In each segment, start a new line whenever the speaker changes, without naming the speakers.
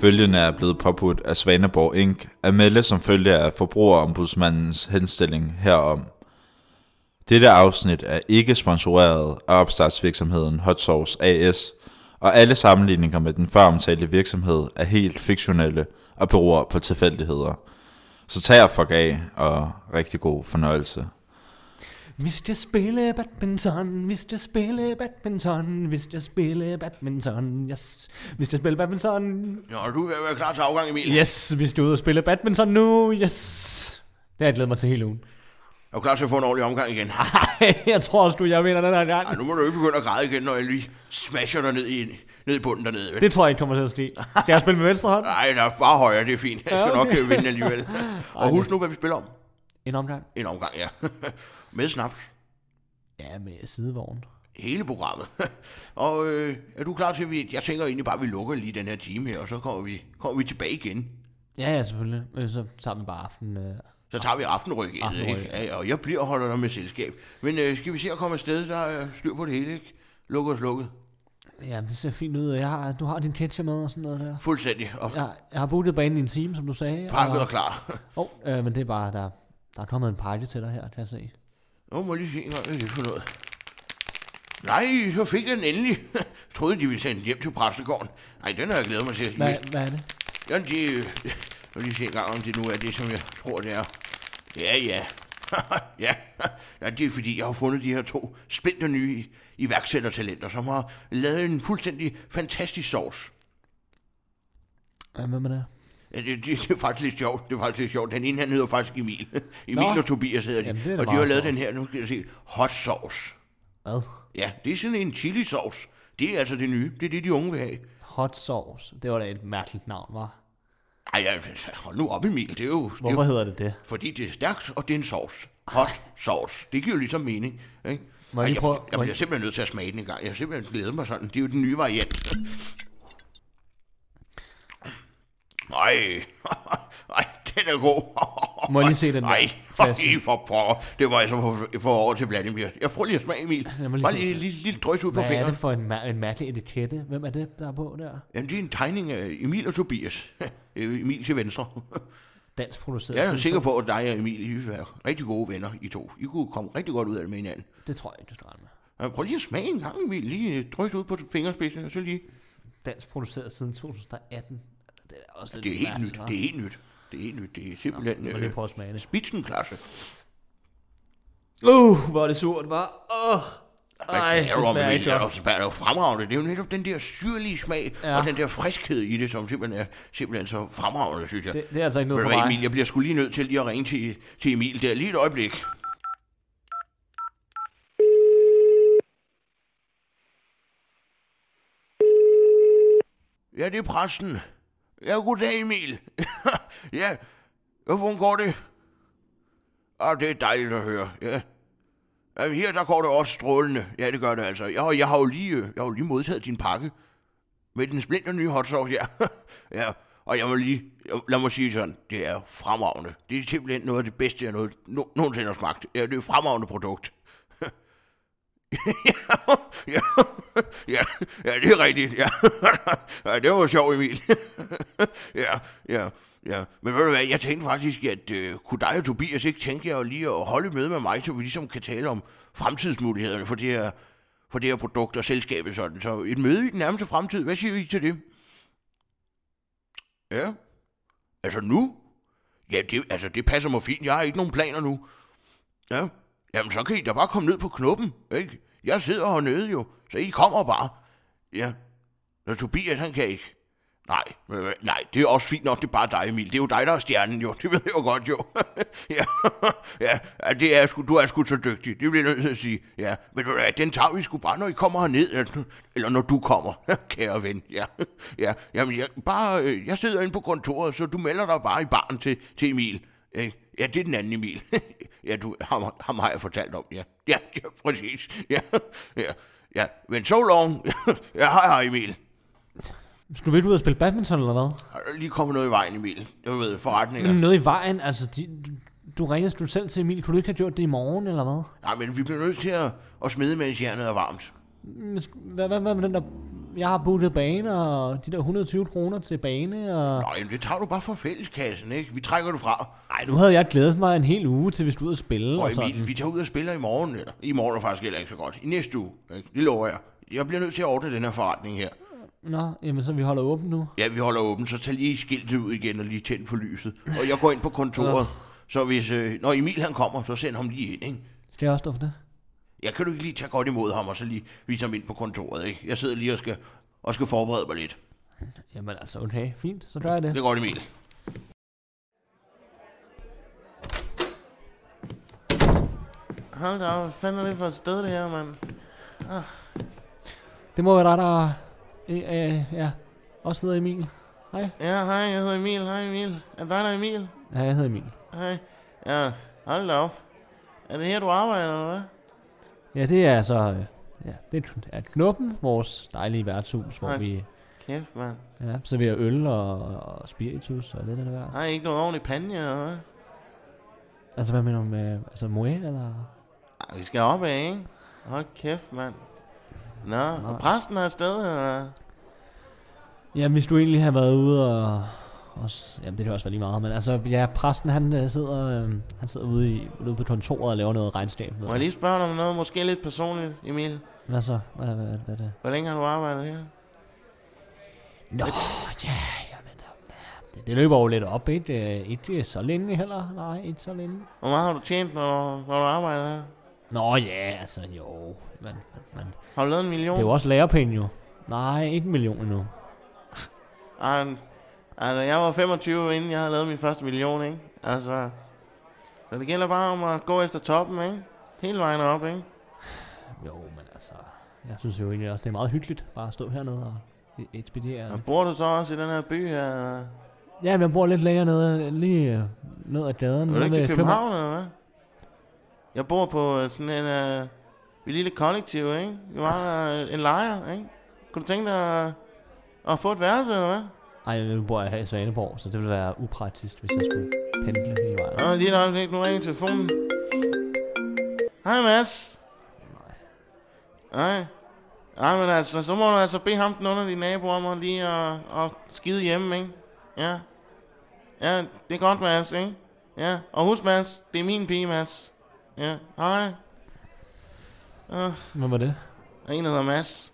følgende er blevet påbudt af Svaneborg Inc. at melde som følge af forbrugerombudsmandens henstilling herom. Dette afsnit er ikke sponsoreret af opstartsvirksomheden Hot Sauce AS, og alle sammenligninger med den føromtalte virksomhed er helt fiktionelle og beror på tilfældigheder. Så tag og fuck af, og rigtig god fornøjelse.
Hvis jeg spiller badminton, hvis jeg spiller badminton, hvis jeg spiller badminton, yes. Hvis jeg spiller badminton,
Nå, er du er være klar til afgang, Emil.
yes. Hvis du er ude og spille badminton nu, yes. Det har jeg glædet mig til hele ugen.
Er du klar til at få en ordentlig omgang igen? Ej,
jeg tror også, du jeg vinder den her gang.
nu må du ikke begynde at græde igen, når jeg lige smasher dig ned i, ned i bunden dernede. vel?
Det tror jeg ikke kommer til at ske. Skal jeg spille med venstre hånd?
Nej, der er bare højere, det er fint. Jeg skal
Ja,
nok
okay.
øh, vinde alligevel. Og husk nu, hvad vi spiller om.
En omgang.
En omgang, ja. Med snaps.
Ja, med sidevogn.
Hele programmet. Og øh, er du klar til, at vi... Jeg tænker egentlig bare, at vi lukker lige den her time her, og så kommer vi, kommer vi tilbage igen.
Ja, ja, selvfølgelig. Øh, Så tager vi bare aften. øh.
Så tager vi aftenryk ind,
Aftenryk.
ikke? Ja, og jeg bliver og holder dig med selskab. Men øh, skal vi se at komme afsted, der er styr på det hele, ikke? Lukket og slukket.
Ja, det ser fint ud. Jeg har, du har din ketchup med og sådan noget der.
Fuldstændig. Og
Jeg, jeg har booket banen i en time, som du sagde.
pakket og klar.
og, oh, øh, men det er bare, der, der er kommet en pakke til dig her, kan jeg se.
Nu må jeg lige se, hvad det er for noget. Nej, så fik jeg den endelig. Jeg troede, de ville sende den hjem til præstegården. Nej, den har jeg glædet mig til.
Hvad, hvad er det?
Ja, de, øh, jeg vil lige se en gang, om det nu er det, som jeg tror, det er. Ja, ja. ja, ja, det er fordi, jeg har fundet de her to spændte nye iværksættertalenter, som har lavet en fuldstændig fantastisk sovs.
Hvad med, med det?
Ja, Det, det, det, er faktisk lidt sjovt. Det er faktisk lidt sjovt. Den ene, han hedder faktisk Emil. Emil
Nå.
og Tobias hedder de.
Jamen, det er da
og de
meget
har lavet
sjovt.
den her, nu skal jeg se, hot sauce.
Hvad?
Ja, det er sådan en chili sauce. Det er altså det nye. Det er det, de unge vil have.
Hot sauce. Det var da et mærkeligt navn, var.
Ej, ja, hold nu op, Emil. Det er jo, det er
Hvorfor
jo
hedder det det?
fordi det er stærkt, og det er en sauce. Hot sauce. Det giver jo ligesom mening. Ikke?
Må
Ej,
jeg lige
jeg,
prøve-
jeg,
må jeg-
bliver simpelthen nødt til at smage den en gang. Jeg har simpelthen glædet mig sådan. Det er jo den nye variant. Ej, Ej den er god.
Må jeg lige se den der
Ej, for,
flaske?
for pokker. Det var jeg så for, for over til Vladimir. Jeg prøver lige at smage, Emil.
Lad mig lige
Bare
se.
lige en lille, lille drøs ud på
Hvad er
fingeren.
det for en, mær- en mærkelig etikette? Hvem er det, der er på der?
Jamen, det er en tegning af Emil og Tobias. Øh, Emil til venstre.
Dansk produceret.
Jeg er
synes
sikker
du?
på, at dig og Emil I vil være rigtig gode venner, I to. I kunne komme rigtig godt ud af det med hinanden.
Det tror jeg ikke, du skal regne med.
Øh, Prøv lige at smage en gang, Emil. Lige øh, drys ud på fingerspidsen, og så lige...
Dansk produceret siden 2018. Det er også lidt
Det er helt
mærkeligt,
nyt.
hva'?
Det er helt nyt. Det er helt nyt. Det er simpelthen... øh,
Må jeg lige prøve at smage det.
Spitsenklasse.
Uh, hvor er det surt, var. Åh, oh, ej, det smager ikke
det er
godt.
også- det er jo fremragende. Det er jo netop den der syrlige smag,
Ja.
ja. og den der friskhed i det, som simpelthen er simpelthen så fremragende, synes jeg.
Det, det er altså ikke
Ved
noget
du
for
hvad,
mig.
Emil, jeg bliver sgu lige nødt til lige at ringe til, til Emil der lige et øjeblik. Ja, det er præsten. Ja, goddag Emil. ja, hvordan går det? Ah, det er dejligt at høre, ja. Jamen, her der går det også strålende. Ja, det gør det altså. Jeg, har- jeg har jo lige, øh, jeg har jo lige modtaget din pakke. Med den splinter nye hot sauce, ja. ja. Og jeg må lige, jeg- lad mig sige det sådan, det er fremragende. Det er simpelthen noget af det bedste, jeg noget, no, nogensinde har smagt. Ja, det er et fremragende produkt. ja, ja, ja, ja, det er rigtigt. Ja, ja det var sjovt, Emil. ja, ja, ja. Men ved du hvad, jeg tænkte faktisk, at øh, kunne dig og Tobias ikke tænke jer lige at holde et møde med mig, så vi ligesom kan tale om fremtidsmulighederne for det her, for det her produkt og selskabet sådan. Så et møde i den nærmeste fremtid, hvad siger I til det? Ja, altså nu? Ja, det, altså det passer mig fint. Jeg har ikke nogen planer nu. Ja, jamen så kan I da bare komme ned på knuppen, ikke? Jeg sidder hernede jo, så I kommer bare. Ja, når Tobias han kan ikke. Nej, ved du hvad, nej, det er også fint nok, det er bare dig, Emil. Det er jo dig, der er stjernen, jo. Det ved jeg jo godt, jo. ja, ja, ja, det er sgu, du er sgu så dygtig. Det bliver jeg nødt til at sige. Ja, men ved du hvad, den tager vi sgu bare, når I kommer herned. Eller, eller når du kommer, kære ven. Ja, ja, jamen, jeg, bare, øh, jeg sidder inde på kontoret, så du melder dig bare i baren til, til Emil. Ikke? Ja, det er den anden Emil. ja, du, ham, ham har jeg fortalt om, ja. Ja, ja præcis. Ja, ja, ja. Men so long. ja, hej, hej Emil.
Skal du virkelig ud og spille badminton eller hvad?
Er der lige kommet noget i vejen, Emil? Jeg ved, forretninger.
Ja.
Mm.
Noget i vejen, altså. De, du, du ringede du selv til Emil. Kunne du ikke have gjort det i morgen eller hvad?
Nej, men vi bliver nødt til at, at smide, mens jernet er varmt.
Men sk- Hvad, hvad, hvad med den der jeg har puttet bane og de der 120 kroner til bane. Og...
Nå, jamen, det tager du bare fra fælleskassen, ikke? Vi trækker det fra.
Ej, nu havde jeg glædet mig en hel uge til, hvis du ud og spille.
Og
Og sådan.
Emil, vi tager ud og spiller i morgen. Eller, I morgen er faktisk heller ikke så godt. I næste uge. Ikke? Det lover jeg. Jeg bliver nødt til at ordne den her forretning her.
Nå, jamen så vi holder åbent nu.
Ja, vi holder åben, så tag lige skiltet ud igen og lige tænd for lyset. Og jeg går ind på kontoret. Så hvis, øh, når Emil han kommer, så send ham lige ind, ikke?
Skal jeg også stå for det?
Jeg kan du ikke lige tage godt imod ham, og så lige vise ham ind på kontoret, ikke? Jeg sidder lige og skal, og skal forberede mig lidt.
Jamen altså, okay, fint, så gør jeg
Det
det.
er godt, Emil.
Hold da op, hvad fanden er det for et sted, det her, mand?
Det må være dig, der øh, øh, ja, også hedder Emil. Hej.
Ja, hej, jeg hedder Emil, hej Emil. Er det dig, der er Emil?
Ja, jeg hedder Emil.
Hej. Ja, hold da op. Er det her, du arbejder, eller hvad?
Ja, det er altså, øh, ja, det er Knuppen, vores dejlige værtshus, hvor
Hej.
vi
Kæft, mand.
ja, serverer øl og, og spiritus og lidt af det værd.
Har I ikke noget ordentligt panje, eller hvad?
Altså, hvad mener du med, altså moe, eller?
Ej, vi skal op af, ikke? Hold kæft, mand. Nå, og præsten er afsted, eller hvad?
Ja, hvis du egentlig har været ude og... Også, jamen, det kan også være lige meget, men altså, ja, præsten, han øh, sidder, øh, han sidder ude, i, ude på kontoret og laver noget regnskab. ved
Må jeg
jeg.
lige spørge dig om noget, måske lidt personligt, Emil?
Hvad så? Hvad, hvad, hvad, hvad er det?
Hvor længe har du arbejdet her?
Nå, ja, jamen, der- det, det løber jo lidt op, ikke? Øh, Ikke så længe heller. Nej, ikke så længe.
Hvor meget har du tjent, når, når du arbejder her?
Nå ja, altså jo. Man, man, man.
Har du lavet en
Det
million?
er jo også lærepenge jo. Nej, ikke en million endnu.
Ej, men- altså, jeg var 25, inden jeg havde lavet min første million, ikke? Altså, så det gælder bare om at gå efter toppen, ikke? Hele vejen op, ikke?
Jo, men altså... Jeg synes jo egentlig også, det er meget hyggeligt bare at stå hernede og e- ekspedere.
Og bor du så også i den her by her? eller?
Ja, men jeg bor lidt længere nede, lige øh, ned ad gaden.
Er
nede
du ikke
ved
til København, eller hvad? Jeg bor på øh, sådan en... Øh, vi lille kollektiv, ikke? Vi var øh, en lejr, ikke? Kunne du tænke dig at, at få et værelse, eller hvad?
Ej, nu bor jeg her i Svaneborg, så det ville være upraktisk, hvis jeg skulle pendle hele vejen.
Nå, lige et øjeblik, nu ringer telefonen. Hej Mads. Nej. Nej, men altså, så må du altså bede ham den under din nabo om at lige at, at skide hjemme, ikke? Ja. Ja, det er godt, Mads, ikke? Ja, og husk, Mads, det er min pige, Mads. Ja, hej. Uh, der
Hvad var det?
er en, der hedder Mads.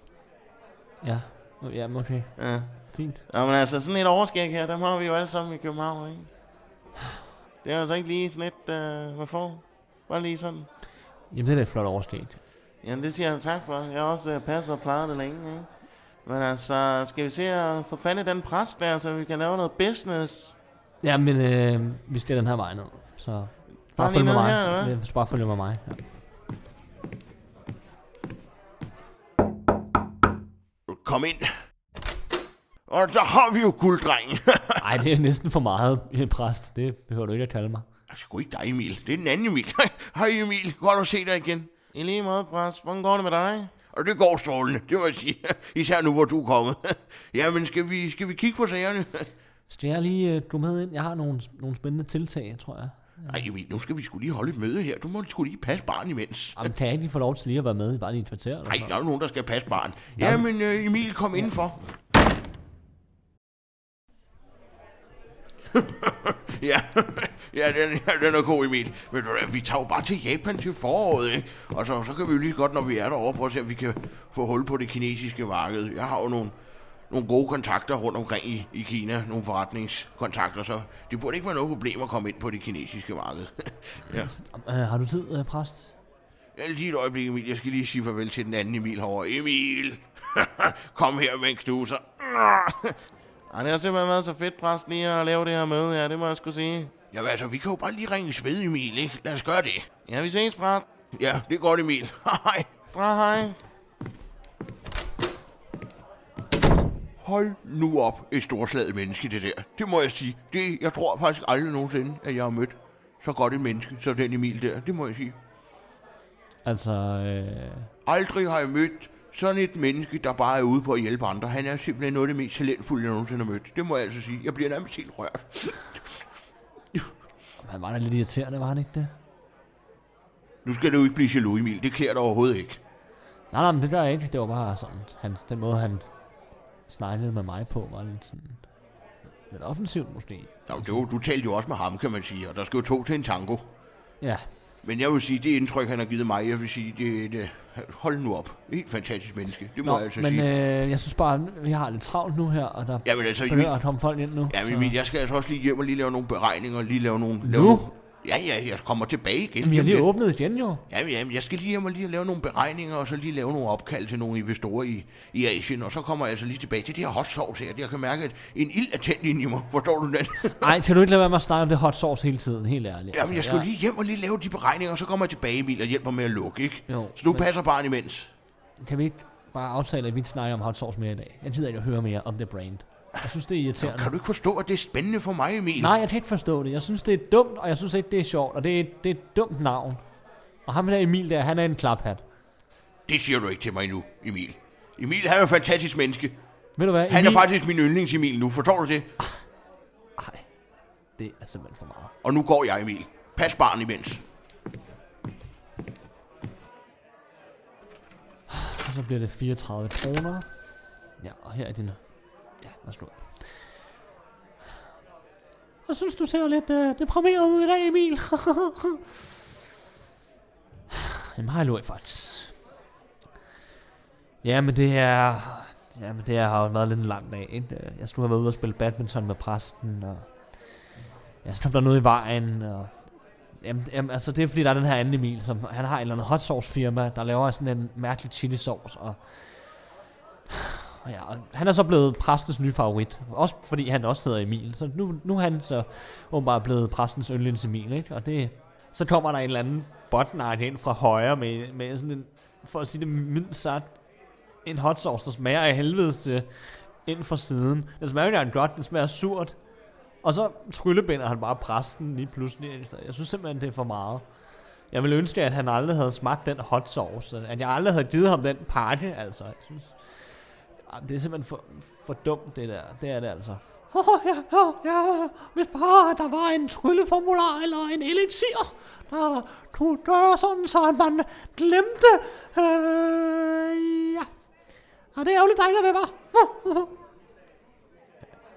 Ja, Nå, ja, okay.
Ja.
Fint.
Nå, men altså, sådan et overskæg her, dem har vi jo alle sammen i København, ikke? Det er altså ikke lige sådan et, øh, man får. Bare lige sådan.
Jamen, det er da et flot overstedt.
Jamen, det siger jeg tak for. Jeg har også øh, passet og plejet det længe, ikke? Men altså, skal vi se at få fat i den præst der, så vi kan lave noget business?
Ja, men øh, vi skal den her vej ned, så... Bare
lige
følg med
ned
mig.
her, eller hvad?
Ja, så bare følg med mig. Ja.
Kom ind. Og der har vi jo gulddrengen.
Ej, det er næsten for meget, præst. Det behøver du ikke at kalde mig.
altså, sgu ikke dig, Emil. Det er den anden Emil. Hej, Emil. Godt at se dig igen.
I lige måde, præst. Hvordan går det med dig?
Og det går strålende, det må jeg sige. Især nu, hvor du er kommet. Jamen, skal vi, skal vi kigge på sagerne?
Skal jeg lige øh, gå med ind? Jeg har nogle, nogle spændende tiltag, tror jeg.
Ej, Emil, nu skal vi skulle lige holde et møde her. Du må sgu lige passe barn imens.
Jamen, kan jeg ikke lige få lov til lige at være med i bare lige et kvarter? Eller
Nej,
sådan?
der er jo nogen, der skal passe barn. Jamen, øh, Emil, kom indenfor. ja, ja den, ja, den er god, Emil. Men du hvad, vi tager jo bare til Japan til foråret, ikke? Og så, så kan vi jo lige så godt, når vi er derovre, prøve at se, om vi kan få hul på det kinesiske marked. Jeg har jo nogle, nogle gode kontakter rundt omkring i, i Kina, nogle forretningskontakter, så det burde ikke være noget problem at komme ind på det kinesiske marked. ja.
Øh, har du tid, øh, præst?
Ja, Lige et øjeblik, Emil. Jeg skal lige sige farvel til den anden Emil herovre. Emil! Kom her med en knuser.
Ej, det har simpelthen været så fedt, præst, lige at lave det her møde her, det må jeg sgu sige.
Jamen altså, vi kan jo bare lige ringe ved, Emil, ikke? Lad os gøre det.
Ja, vi ses, præst.
Ja, det er godt, Emil. Hej.
Fra hej.
Hold nu op, et storslaget menneske, det der. Det må jeg sige. Det, jeg tror faktisk aldrig nogensinde, at jeg har mødt så godt et menneske, som den Emil der. Det må jeg sige.
Altså, øh,
Aldrig har jeg mødt sådan et menneske, der bare er ude på at hjælpe andre. Han er simpelthen noget af det mest talentfulde, jeg nogensinde har mødt. Det må jeg altså sige. Jeg bliver nærmest helt rørt.
han var da lidt irriterende, var han ikke det?
Nu skal du ikke blive jaloux, Emil. Det klæder dig overhovedet ikke.
Nej, nej, men det gør jeg ikke. Det var bare sådan, han, den måde, han snakkede med mig på, var lidt sådan... Lidt offensivt måske.
Nå, men det var, du talte jo også med ham, kan man sige, og der skal jo to til en tango.
Ja,
Men jeg vil sige, det indtryk, han har givet mig, jeg vil sige, det er et, øh, hold nu op. Helt fantastisk menneske, det må
Nå,
jeg altså
men
sige.
øh, jeg synes bare, vi har lidt travlt nu her, og der
Jamen altså, Emil,
begynder at komme folk ind nu.
jamen,
så-
Emil, jeg skal altså også lige hjem og lige lave nogle beregninger, lige lave nogle...
Nu?
Lave nogle ja, ja, jeg kommer tilbage igen.
Jamen, vi har lige
Jamen, jeg-
åbnet igen jo.
Jamen, jamen, jeg skal lige hjem og lige lave nogle beregninger, og så lige lave nogle opkald til nogle investorer i, i Asien, og så kommer jeg altså lige tilbage til det her hot sauce her. Jeg kan mærke, at en ild er tændt ind i mig. Forstår du den?
Nej, kan du ikke lade være med at snakke om det hot sauce hele tiden, helt ærligt. altså,
jamen, jeg skal jo
jeg-
lige hjem og lige lave de beregninger, og så kommer jeg tilbage, Emil, og hjælper med at lukke, ikke?
Jo,
så du
men-
passer barn imens.
Kan vi ikke bare aftale, at vi ikke snakker om hot sauce mere i dag? Jeg gider ikke at høre mere om det brand. Jeg synes, det er irriterende.
Kan du ikke forstå, at det er spændende for mig, Emil?
Nej, jeg kan ikke forstå det. Jeg synes, det er dumt, og jeg synes ikke, det er sjovt, og det er, det er et dumt navn. Og ham der Emil der, han er en klaphat.
Det siger du ikke til mig nu, Emil. Emil, han er en fantastisk menneske.
Ved du hvad?
Han
Emil...
er faktisk min yndlings-Emil nu, forstår du det?
Ej, det er simpelthen for meget.
Og nu går jeg, Emil. Pas barn imens.
Og så bliver det 34 kroner. Ja, og her er din... Ja, værsgo. Jeg synes, du ser lidt øh, deprimeret ud i dag, Emil. Jamen, har jeg lort, faktisk. Jamen, det er... Jamen, det er- har jo været lidt en lang dag, ikke? Øh, Jeg skulle have været ude og spille badminton med præsten, og... Jeg stod der noget i vejen, og... Jamen, jamen, altså det er fordi, der er den her anden Emil, som han har et eller andet hot sauce firma, der laver sådan en mærkelig chili sauce, og, og ja, og han er så blevet præstens nye favorit, også fordi han også hedder Emil, så nu, nu er han så åbenbart blevet præstens yndlings Emil, ikke? og det, så kommer der en eller anden botnart ind fra højre med, med sådan en, for at sige det mildt sagt, en hot sauce, der smager af helvedes til, ind fra siden. Den smager jo ikke godt, den smager surt, og så tryllebinder han bare præsten lige pludselig. Jeg synes simpelthen, det er for meget. Jeg ville ønske, at han aldrig havde smagt den hot sauce. At jeg aldrig havde givet ham den pakke, altså. Jeg synes, Ej, det er simpelthen for, for dumt, det der. Det er det altså. Åh, oh, ja, ja, ja, hvis bare der var en trylleformular eller en elixir, der kunne gøre sådan, så at man glemte, øh, ja. Og det er ærgerligt dejligt, det var.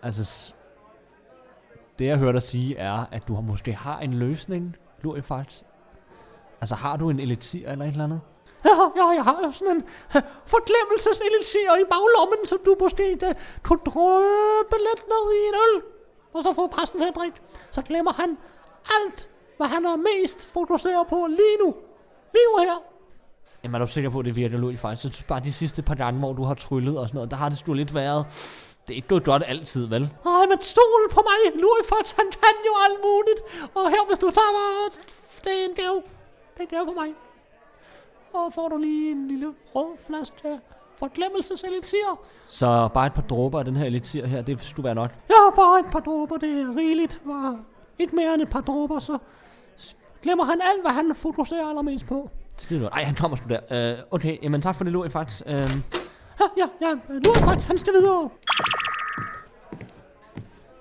altså, det jeg hørte dig sige er, at du har- måske har en løsning, Lurifalds. Altså har du en elixir eller et eller andet? Ja, ja, jeg har jo sådan en forglemmelseselixir i baglommen, som du måske da, kunne drøbe lidt ned i en øl, og så få præsten til at drikke. Så glemmer han alt, hvad han er mest fokuseret på lige nu. Lige nu her. Jamen er du sikker på, at det virker, Louis, faktisk? Jeg synes bare, de sidste par gange, hvor du har tryllet og sådan noget, der har det sgu lidt været... Det er ikke gået godt altid, vel? Ej, men stol på mig, Louis, for han kan jo alt muligt. Og her, hvis du tager mig, det er en gave. Det er en gave for mig. Og får du lige en lille rød flaske forglemmelseselixier. Så bare et par dråber af den her elixir her, det skulle være nok. Ja, bare et par dråber, det er rigeligt. Bare et mere end et par dråber, så glemmer han alt, hvad han fokuserer allermest på. Skide godt. Ej, han kommer sgu der. Øh, okay, jamen tak for det, Louis, faktisk. Øh, ja, ja, ja, Louis, faktisk, han skal videre.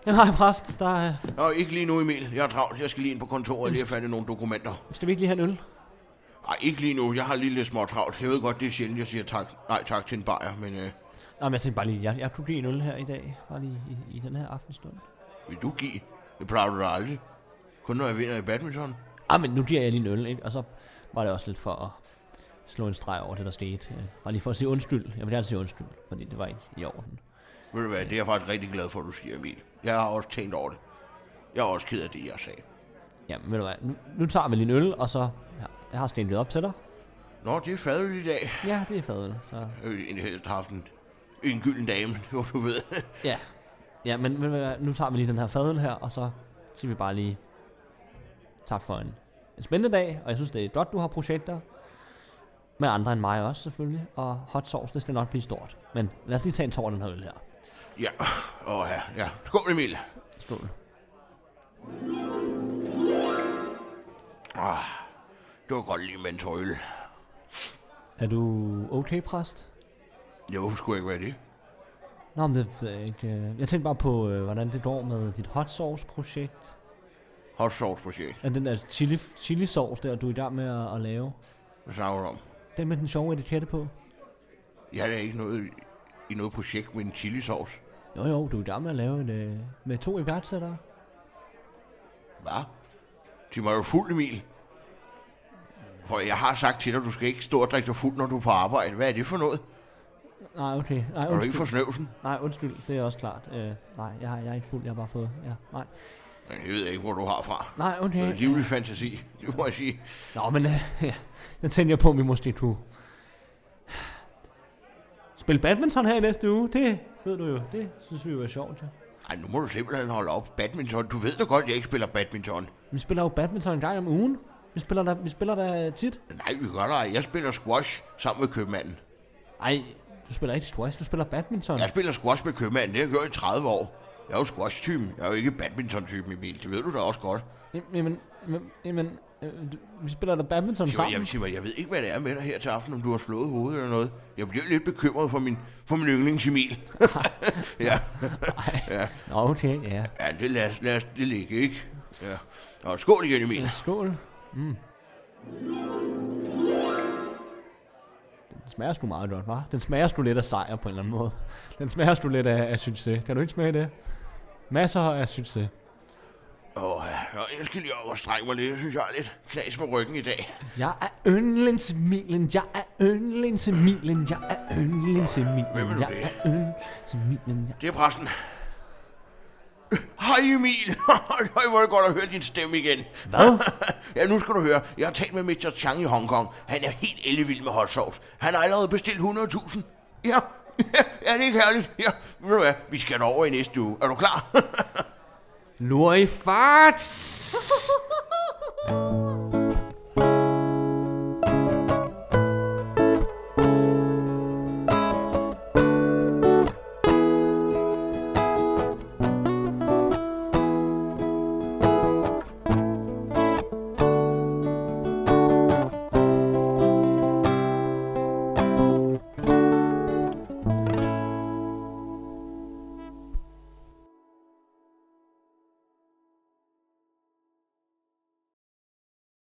Jamen, hej, præst. Der, øh,
Nå, ikke lige nu, Emil. Jeg er travlt. Jeg skal lige ind på kontoret og lige have fat i nogle dokumenter.
skal vi ikke lige have en øl?
Nej, ikke lige nu. Jeg har lige lidt små travlt. Jeg ved godt, det er sjældent, jeg siger tak. Nej, tak til en bajer, men øh,
Nå, men jeg tænkte bare lige, jeg, jeg kunne give en øl her i dag. Bare lige i, i den her aftenstund.
vil du give? Det plejer du da aldrig. Kun når jeg vinder i badminton.
Ah, men nu giver jeg lige en øl, ikke? Og så var det også lidt for at slå en streg over det, der skete. Øh, Bare lige for at sige undskyld. Jeg vil gerne sige undskyld, fordi det var ikke i orden.
Ved du hvad, det er jeg faktisk rigtig glad for, at du siger, Emil. Jeg har også tænkt over det. Jeg er også ked af det, jeg sagde.
Jamen, ved du hvad, nu, nu tager vi lige en øl, og så... Ja, jeg har stenet op til dig.
Nå, det er fadet i dag.
Ja, det er fadøl, så...
Øh, En helt har haft en, en gylden dame, jo du ved.
Ja. Ja, men ved du hvad, nu tager vi lige den her fadøl her, og så siger vi bare lige... Tak for en, en spændende dag, og jeg synes, det er godt, du har projekter. Med andre end mig også, selvfølgelig. Og hot sauce, det skal nok blive stort. Men lad os lige tage en tår af den her øl her.
Ja, åh ja, ja. Skål, Emil.
Skål.
Det var godt lige med en tår øl.
Er du okay, præst?
Jo, hvorfor skulle jeg ikke være det?
Nå, men det ved jeg ikke. øh. Jeg tænkte bare på, øh, hvordan det går med dit hot sauce-projekt.
Hot sauce projekt.
Ja, den der chili, chili sauce der, du er i gang med at, at lave.
Hvad snakker du om?
Den med den sjove etikette på.
Jeg har da ikke noget... i noget projekt med en chilisauce.
Jo jo, du er i gang med at lave en, øh, med to iværksættere.
Hvad? De var jo fuld, Emil. Prøv, jeg har sagt til dig, du skal ikke stå og drikke dig fuld, når du er på arbejde. Hvad er det for noget?
Nej, okay. Nej,
Er du ikke
undskyld.
for snøvsen?
Nej, undskyld. Det er også klart. Øh, nej, jeg, har, jeg er ikke fuld. Jeg har bare fået... Ja, nej.
Men jeg ved ikke, hvor du har fra.
Nej,
Det
okay.
er en livlig fantasi, det må jeg sige.
Nå, men øh, ja. jeg tænkte jeg på, at vi måske kunne spille badminton her i næste uge. Det ved du jo. Det synes vi jo er sjovt, ja.
Ej, nu må du simpelthen holde op. Badminton, du ved da godt, jeg ikke spiller badminton.
Vi spiller jo badminton en gang om ugen. Vi spiller da, vi spiller da tit.
Nej, vi gør dig. Jeg spiller squash sammen med købmanden.
Ej, du spiller ikke squash, du spiller badminton.
Jeg spiller squash med købmanden, det har jeg gjort i 30 år. Jeg er jo squash-typen, jeg er jo ikke badminton-typen, Emil. Det ved du da også godt.
Jamen, jamen, jamen øh, du- vi spiller da badminton
Jeg,
sammen.
jeg, jeg, jeg ved ikke, hvad det er med dig her til aften, om du har slået hovedet eller noget. Jeg bliver lidt bekymret for min, for min yndlings Emil. ja.
Nå, okay, ja.
ja, det lad, os- lad os det ligge, ikke? Ja. Og skål igen, Emil.
Skål. Mm. Den smager sgu meget godt, hva'? Den smager sgu lidt af sejr på en eller anden måde. Den smager sgu lidt af, af succes. Kan du ikke smage det? Masser af succes.
Åh, ja. jeg skal lige over og strække mig lidt. Jeg synes, jeg er lidt knas med ryggen i dag.
Jeg er yndlingsemilen, jeg er yndlingsemilen, jeg er yndlingsemilen,
Hvem er nu
jeg
det?
er yndlingsemilen, jeg
Det er præsten. Hej Emil. Høj, hvor er det godt at høre din stemme igen.
Hvad?
ja, nu skal du høre. Jeg har talt med Mr. Chang i Hongkong. Han er helt ellevild med hot sauce. Han har allerede bestilt 100.000. Ja. ja, det er ikke herligt. Ja, ved du hvad? Vi skal over i næste uge. Er du klar?
Lur i farts!